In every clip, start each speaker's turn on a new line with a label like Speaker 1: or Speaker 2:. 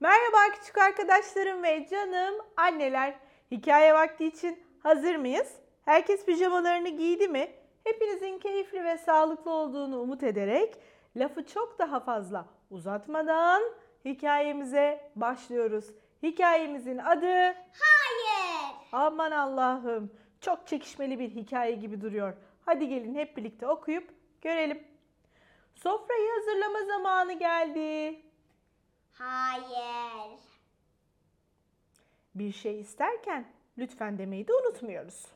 Speaker 1: Merhaba küçük arkadaşlarım ve canım anneler. Hikaye vakti için hazır mıyız? Herkes pijamalarını giydi mi? Hepinizin keyifli ve sağlıklı olduğunu umut ederek lafı çok daha fazla uzatmadan hikayemize başlıyoruz. Hikayemizin adı
Speaker 2: Hayır.
Speaker 1: aman Allah'ım çok çekişmeli bir hikaye gibi duruyor. Hadi gelin hep birlikte okuyup görelim. Sofrayı hazırlama zamanı geldi.
Speaker 2: Hayır.
Speaker 1: Bir şey isterken lütfen demeyi de unutmuyoruz.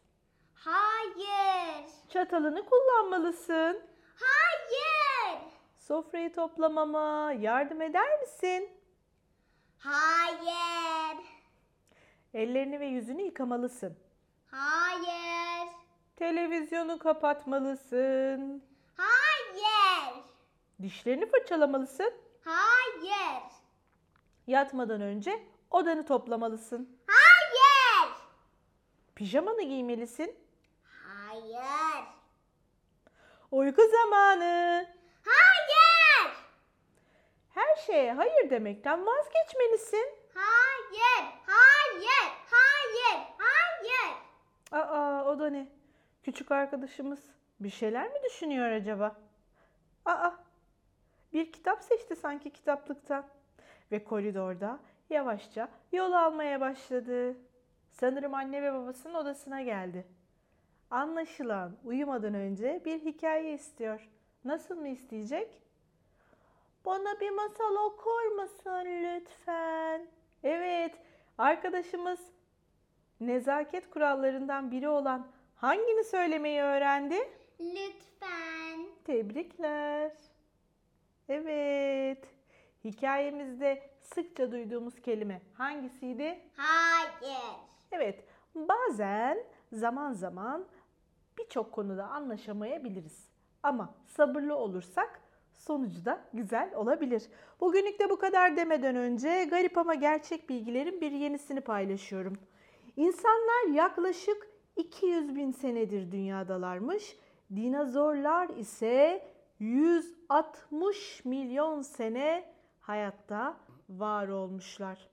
Speaker 2: Hayır.
Speaker 1: Çatalını kullanmalısın.
Speaker 2: Hayır.
Speaker 1: Sofrayı toplamama yardım eder misin?
Speaker 2: Hayır.
Speaker 1: Ellerini ve yüzünü yıkamalısın.
Speaker 2: Hayır.
Speaker 1: Televizyonu kapatmalısın.
Speaker 2: Hayır.
Speaker 1: Dişlerini fırçalamalısın.
Speaker 2: Hayır.
Speaker 1: Yatmadan önce odanı toplamalısın.
Speaker 2: Hayır.
Speaker 1: Pijamanı giymelisin.
Speaker 2: Hayır.
Speaker 1: Uyku zamanı.
Speaker 2: Hayır.
Speaker 1: Her şeye hayır demekten vazgeçmelisin.
Speaker 2: Hayır. Hayır. Hayır. Hayır.
Speaker 1: Aa o da ne? Küçük arkadaşımız bir şeyler mi düşünüyor acaba? Aa bir kitap seçti sanki kitaplıktan ve koridorda yavaşça yol almaya başladı. Sanırım anne ve babasının odasına geldi. Anlaşılan uyumadan önce bir hikaye istiyor. Nasıl mı isteyecek? Bana bir masal okur musun lütfen? Evet, arkadaşımız nezaket kurallarından biri olan hangini söylemeyi öğrendi?
Speaker 2: Lütfen.
Speaker 1: Tebrikler. Evet. Hikayemizde sıkça duyduğumuz kelime hangisiydi?
Speaker 2: Hayır.
Speaker 1: Evet, bazen zaman zaman birçok konuda anlaşamayabiliriz. Ama sabırlı olursak sonucu da güzel olabilir. Bugünlük de bu kadar demeden önce garip ama gerçek bilgilerin bir yenisini paylaşıyorum. İnsanlar yaklaşık 200 bin senedir dünyadalarmış. Dinozorlar ise 160 milyon sene hayatta var olmuşlar.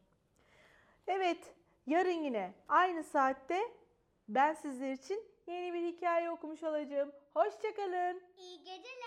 Speaker 1: Evet, yarın yine aynı saatte ben sizler için yeni bir hikaye okumuş olacağım. Hoşçakalın.
Speaker 2: İyi geceler.